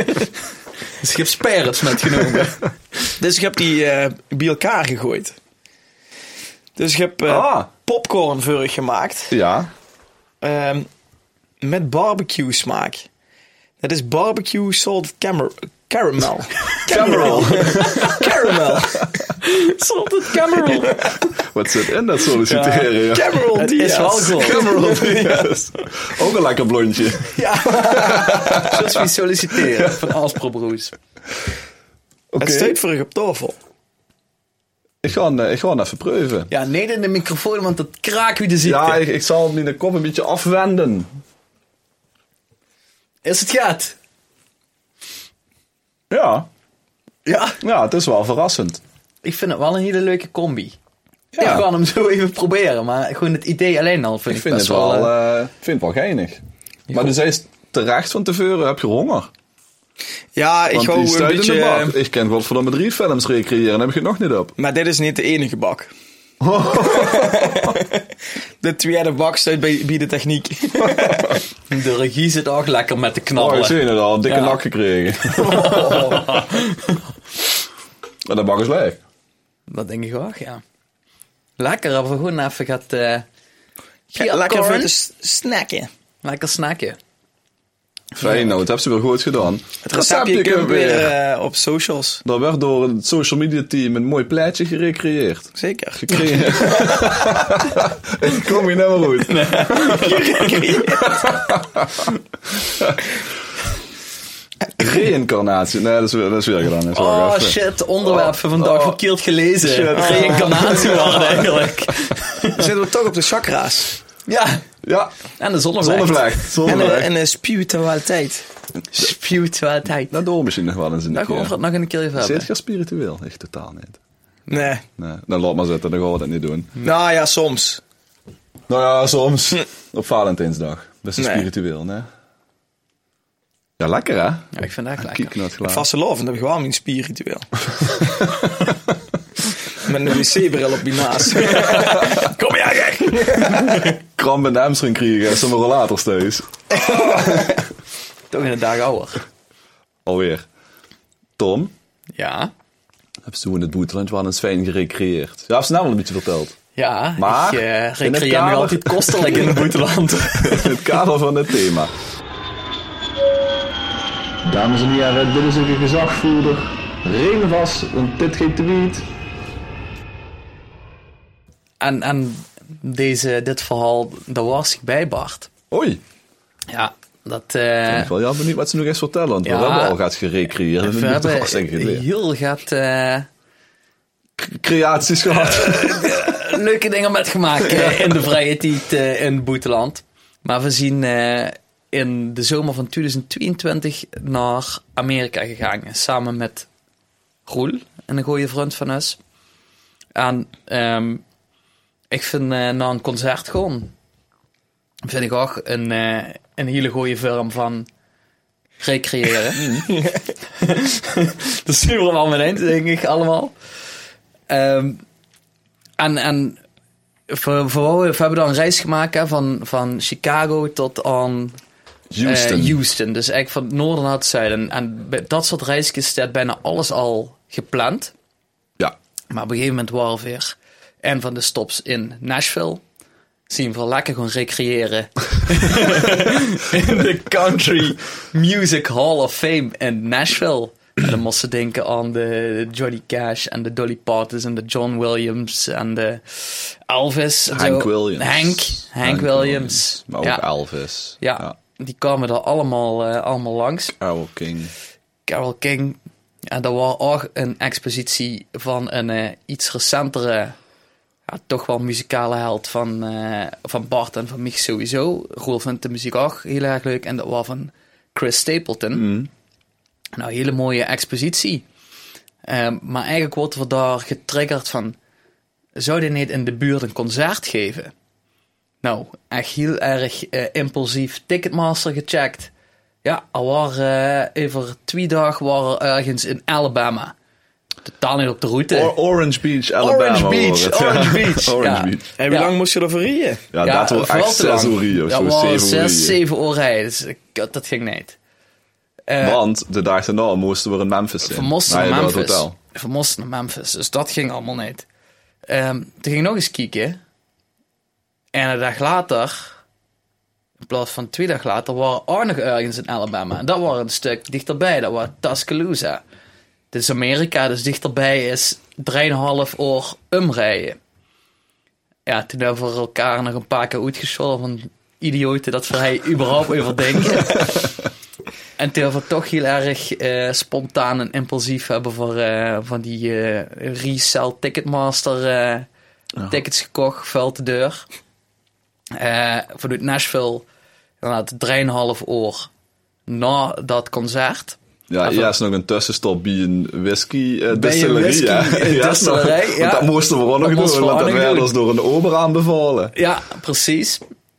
Dus ik heb sperrets metgenomen. Dus ik heb die eh, bij elkaar gegooid. Dus ik heb eh, Ah, popcornvurig gemaakt. ja. Ehm, met barbecue smaak. Dat is barbecue salted camera- [laughs] caramel. Caramel. caramel. Zonder [laughs] Cameron. Wat zit in dat solliciteren? Ja. Caramel Het Diaz. is wel goed. Cameron [laughs] Diaz. Ook een lekker blondje. Zoals we solliciteren van Aspro Broes. Oké. Het staat voor op tafel. Ik ga, eh, ik ga hem even proeven. Ja, nee in de microfoon, want dat kraakt wie de ziekte. Ja, ik, ik zal hem in de kop een beetje afwenden. Is het gaat? Ja, Ja. ja het is wel verrassend. Ik vind het wel een hele leuke combi. Ja. Ik ga hem zo even proberen, maar gewoon het idee alleen al vind ik, Ik vind het best wel, eh, eh, ik vind het wel geinig. Maar dus hij is terecht van tevoren, heb je honger. Ja, ik Want hou die een stuit in beetje... eh, de bak. Ik ken godverdomme drie films recreëren, heb ik het nog niet op. Maar dit is niet de enige bak. [laughs] de tweede bak staat bij, bij de techniek. eh, eh, De regie zit ook lekker met de Oh, ik knabbelen. zie het al, een dikke Ja. nak gekregen. [laughs] Oh, Maar dat bak is leeg. [laughs] dat denk ik ook, ja. Lekker, hebben we gewoon even gaat... eh Ja, Lekker popcorn. voor te s- snacken. Lekker snacken. Fijn, nou, dat hebben ze wel goed gedaan. Het receptje kunnen we weer eh, op socials. Dat werd door het social media team een mooi plaatje gerecreëerd. [laughs] Zeker. Gekregen. Ik kom hier nou maar goed. [laughs] Reïncarnatie. Nee, dat is weer, dat is weer gedaan. Dat is wel Oh gaaf. shit, de onderwerp van vandaag Oh. verkeerd gelezen. Shit. Reïncarnatie waren [laughs] eigenlijk. Zitten we toch op de chakra's. Ja, Ja, en de zonnevlecht. [laughs] zonnevlecht. En, Zonnevlecht. eh, en eh, spiritualiteit. Spiritualiteit. dat doen we misschien nog wel eens in Nou, de Daar gaan we keer. het nog een keer even Zit hebben. je spiritueel? Echt totaal niet. Nee. Nee, dan laat maar zitten, dan gaan we dat niet doen. Nou ja, soms. Nou ja, soms. Op Valentijnsdag. Dat is Hm. Nee. spiritueel, nee. Ja, lekker hè? Ja, ik vind het echt lekker. Kieknot Een glaas. vaste love, dan heb ik wel mijn spierritueel. [laughs] Met een wc-bril op die [laughs] naast. Kom jij, gek! Kramp in de hamstring krijgen en sommige later steeds. Toch in de dag ouder. Alweer. Tom, Ja. heb je toen in het boeteland wel eens fijn gerecreëerd? Ja, heb ze nou wel een beetje verteld. [laughs] Ja, Maar, ik eh, in het recreëer me kader- altijd kostelijk [laughs] in het buitenland. In het kader van het thema. Dames en heren, dit is uw gezagvoerder. Regen vast, want dit geeft de wiet. en en deze, dit verhaal, daar was ik bij, Bart. Oei, Ja, dat... eh ik ben wel benieuwd wat ze nog eens vertellen. Want Ja. we hebben al gaat gerecreëerd. En we we [laughs] hebben al hebben eens heel gaat eh, creaties gehad. leuke dingen met gemaakt eh, in de vrije tijd eh, in het buitenland. Maar we zien eh, in de zomer van 2022 naar Amerika gegaan. Samen met Roel, een goede vriend van ons. En ehm, ik vind eh, na een concert gewoon... Vind ik ook een, eh, een hele goede vorm van recreëren. [laughs] Dat zien we allemaal meteen, denk ik, allemaal. Ehm, en, en we, we, we hebben dan een reis gemaakt hè, van, van Chicago tot aan [laughs] eh, Houston. Houston. Dus eigenlijk van het noorden naar het zuiden. En bij dat soort reisjes staat bijna alles al gepland. ja, Maar op een gegeven moment waren we weer en van de stops in Nashville. Zien we lekker gewoon [laughs] recreëren. in de Country Music Hall of Fame in Nashville. En dan moesten ze denken aan de Johnny Cash en de Dolly Partons en de John Williams en de Elvis. en Hank zo. Williams. Hank, Hank, Williams. Maar ook ja. Elvis. Ja, die kwamen er allemaal, eh, allemaal langs. Carole King. Carol King. En dat was ook een expositie van een eh, iets recentere, ja, toch wel muzikale held van, eh, van Bart en van mij sowieso. Roel vindt de muziek ook heel erg leuk. En dat was van Chris Stapleton. Nou, een Ehm, hele mooie expositie. Eh, maar eigenlijk worden we daar getriggerd van zou die niet in de buurt een concert geven? Nou, echt heel erg eh, impulsief Ticketmaster gecheckt. Ja, er waren eh, over twee dagen waren er ergens in Alabama. Totaal niet op de route. Or- Orange Beach, Alabama. Eh. hoor Orange [laughs] Beach, het. Orange Beach, Orange ja. Beach. En hoe Ja. lang moest je ervoor rijden? Ja, dat wordt vooral echt te lang. zes uur hier, of Dat zo, waren zeven uur zes, hier. zeven uur rijden. Dus, eh, kut, dat ging niet. Eh, Want de dag daarna moesten we in Memphis zijn. Van Mosten Nee, naar dat Memphis. hotel. Van Mosten naar Memphis. Dus dat ging allemaal niet. Ehm, toen ging ik nog eens kieken. En een dag later, in plaats van twee dagen later, waren we ook nog ergens in Alabama. En dat was een stuk dichterbij. Dat was Tuscaloosa. Dit is Amerika, dus dichterbij is 3,5 uur omrijden. Ja, toen hebben we elkaar nog een paar keer uitgescholden van idioten dat wij überhaupt over denken. En toen we toch heel erg eh, spontaan en impulsief hebben voor eh, van die eh, resell Ticketmaster eh, tickets gekocht, vuil te deur. Eh, vanuit Nashville, inderdaad, 3,5 uur na dat concert. Ja, Even- hier is nog een tussenstop bij een whisky eh Bij een distillerie. whisky, ja. [laughs] eh, Ja, distillerij, want ja. dat moesten we ook nog Dat moesten doen, we want ook dat nog werd doen. ons door een ober aanbevolen. Ja, precies.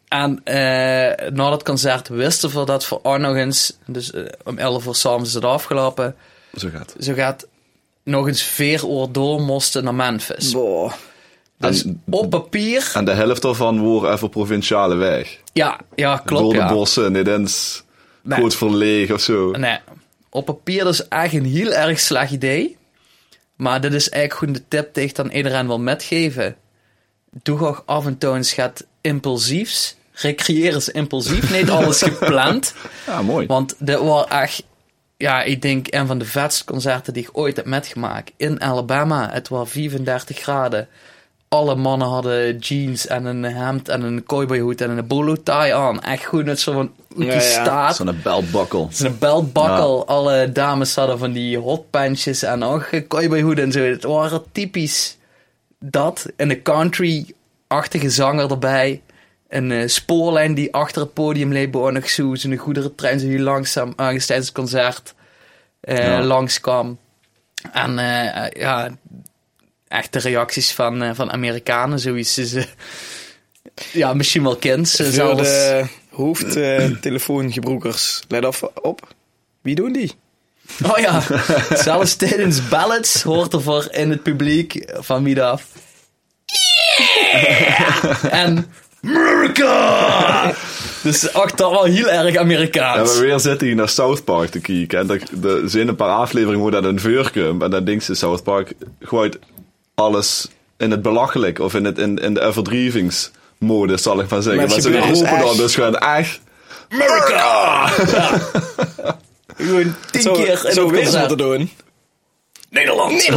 En eh, na dat concert wisten we dat voor ook nog eens, dus eh, om 11 uur s'avonds is het afgelopen, Zo gaat het. zo gaat nog eens 4 uur door moesten naar Memphis. Boah. Dus En- op papier, En de helft daarvan waren even provinciale weg. ja, ja klopt door de ja. bossen, niet eens Nee. goed verlegen of zo. Nee, op papier is echt een heel erg slecht idee. Maar dit is eigenlijk gewoon de tip die ik dan iedereen wil metgeven. Doe ook af en toe eens gaat impulsiefs. Recreëer is impulsief, niet alles gepland. Ja, mooi. Want dit was echt, ja, ik denk een van de vetste concerten die ik ooit heb metgemaakt. In Alabama, het was 35 graden. Alle mannen hadden jeans en een hemd en een cowboyhoed en een bolo tie aan. Echt goed, net zo van uit die Ja, ja. staat. Zo'n belbakkel. Zijn beltbakkel, alle dames hadden van die hotpantjes en ook hoed en zo. Het waren typisch dat. En een country-achtige zanger erbij. Een eh, spoorlijn die achter het podium leed, behoorlijk nog zo. Zo'n goederentrein die langzaam ergens tijdens het concert eh, Ja. langskwam. En eh, eh, ja, echt de reacties van, eh, van Amerikanen, zoiets is... eh, ja, misschien wel kind. Voor zelfs. de hoofdtelefoongebroekers, Eh, let af op. Wie doen die? Oh ja, zelfs tijdens ballads hoort er voor in het publiek van wie dat... Yeah! En... America! Dus ook dat wel heel erg En we Amerikaans. weer zitten hier naar South Park te kijken. En er- er zijn een paar afleveringen hoe dat een vuur komt. En dan denkt ze South Park gooit alles in het belachelijk. Of in, het, in, in de overdrijvingsmode, zal ik maar zeggen. Maar Maar het ze gebeurt roepen dus dan echt. dus gewoon echt. [laughs] Gewoon tien Zo, keer in zo het weer ze concert. moeten doen. Nederland. Ja,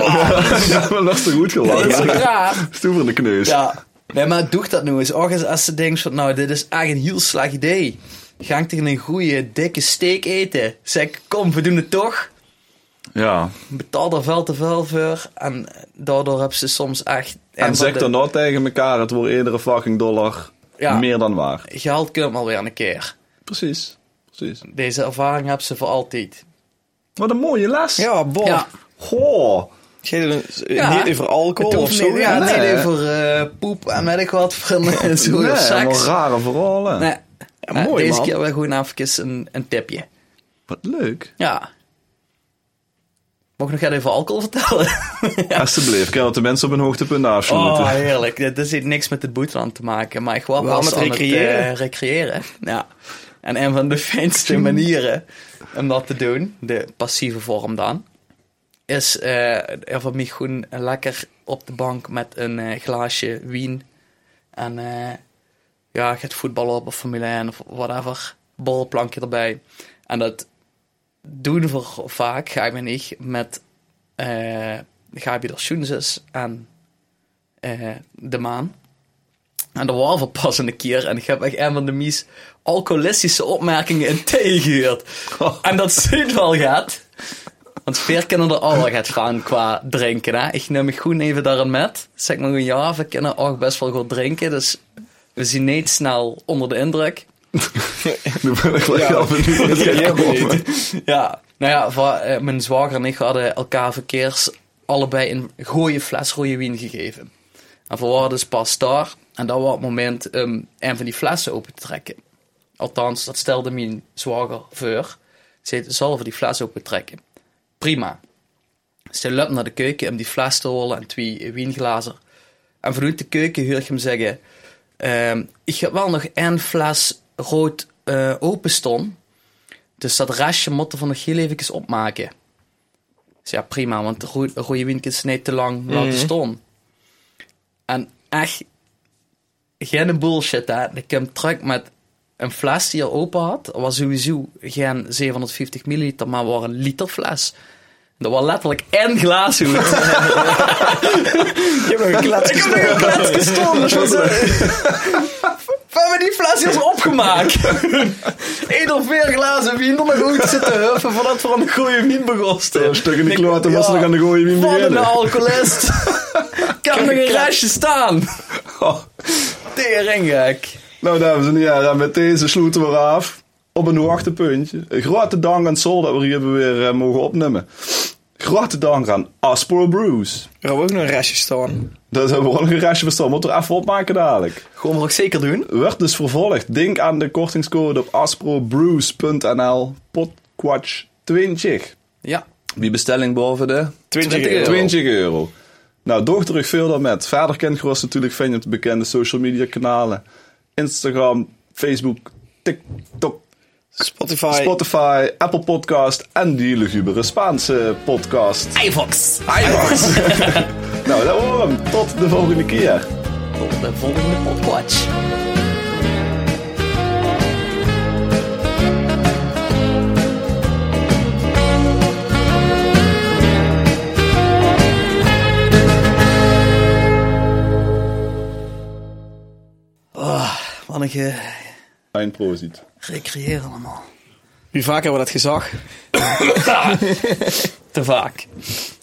maar dat is te goed gelachen. [laughs] Dat is raar. Stoer in de kneus. Ja. Nee, maar doe dat nou eens. Ook eens als ze denkt van, nou, dit is echt een heel slecht idee. Ga ik tegen een goede, dikke steak eten. Zeg, kom, we doen het toch. ja. Betaal er veel te veel voor. En daardoor heb ze soms echt... En zeg dan nou tegen elkaar, het wordt iedere fucking dollar Ja. meer dan waar. Geld komt alweer een keer. Precies. Precies. Deze ervaring hebben ze voor altijd. Wat een mooie les. Ja, boh. Ja. Goh. Geen, eh, Ja. Niet over alcohol of hoeft zo. niet, ja, Nee. het niet over eh, poep en weet ik wat. Van, [laughs] nee, zo, Nee, of allemaal seks. rare verhalen. Nee. Eh, Ja, mooi, Deze man. keer wel gewoon even een, een tipje. Wat leuk. Ja. Mocht ik nog even alcohol vertellen? [laughs] Alsjeblieft, kan dat de mensen op hun hoogtepunt afsluiten. Oh, heerlijk. Dit dit heeft niks met het boeteland te maken, maar ik was Wel pas met aan recreëren. het eh, recreëren. [laughs] Ja. En een van de [laughs] fijnste manieren om dat te doen, de passieve vorm dan, is eh er van mij gewoon lekker op de bank met een eh, glaasje wien. En eh, ja, gaat voetballen op of Formule 1 of whatever. Borrelplankje erbij. En dat doen we vaak, ga ik me niet, met eh Gabi de Schoenzes en eh, de maan. En er waren we pas een keer en ik heb echt een van de meest alcoholistische opmerkingen in thee gehoord. En dat zit wel gaat. Want Veer kunnen er al wel gaat gaan qua drinken. Hè? Ik neem me goed even daarin met. Zeg maar gewoon ja, we kunnen ook best wel goed drinken. Dus we zien niet snel onder de indruk. [laughs] Nu ben ik wel [laughs] heel benieuwd wat [laughs] Ja, er jij gaat komen. Ja, nou ja, va- eh, mijn zwager en ik hadden elkaar verkeers allebei een gooie fles rode wien gegeven. En verwaarde dus pas daar. En dat was het moment om een van die flessen open te trekken. Althans, dat stelde mijn zwager voor. Ze zei, zal voor die fles open trekken. Prima. Ze loopt naar de keuken om die fles te halen en twee wienglazen. En vanuit de keuken hoor ik hem zeggen... ehm, ik heb wel nog één fles rood eh open staan. Dus dat restje moeten we nog heel even opmaken. Dus ja, prima, want de roe- rode wijn is niet te lang laten staan. En echt, geen bullshit hè. Ik heb terug met een fles die al open had. Dat was sowieso geen 750 milliliter, maar wel een liter fles. Dat was letterlijk één glaas goed. [laughs] Je hebt nog een klets Ik heb nu een klets gestolen. Dus [laughs] we hebben die fles hier eens [laughs] opgemaakt. Eén of meer glazen wien om nog goed zitten huffen voordat we aan de goede wien begosten. Een stuk in de kloten was nog aan de gooien wie Wat een beginnen. alcoholist. [laughs] Ik heb nog een restje staan. Teringek. Nou, dames en heren, met deze sluiten we af op een hoogtepuntje. Een grote dank aan Sol dat we hier hebben weer eh, mogen opnemen. Grote dank aan Aspro Bruce. Er hebben ook nog een restje staan. Dat hebben we wel een restje bestaan. Moeten we er even opmaken dadelijk. Gewoon maar ook zeker doen. Werd dus vervolgd. Denk aan de kortingscode op asprobrews.nl potquatch 20. Ja. Wie bestelling boven de 20 euro. 20 euro. Nou, doch terug veel dan met. Verder kent Gros natuurlijk vind je op de bekende social media kanalen. Instagram, Facebook, TikTok, Spotify. Spotify, Apple Podcast en die lugubere Spaanse podcast. iVox. Nou, dat horen we hem. Tot de volgende keer. Tot de volgende podcast. Oh, wat een ge- Fijn proziet. recreëren [laughs] allemaal. Wie vaker we dat gezag. Te vaak.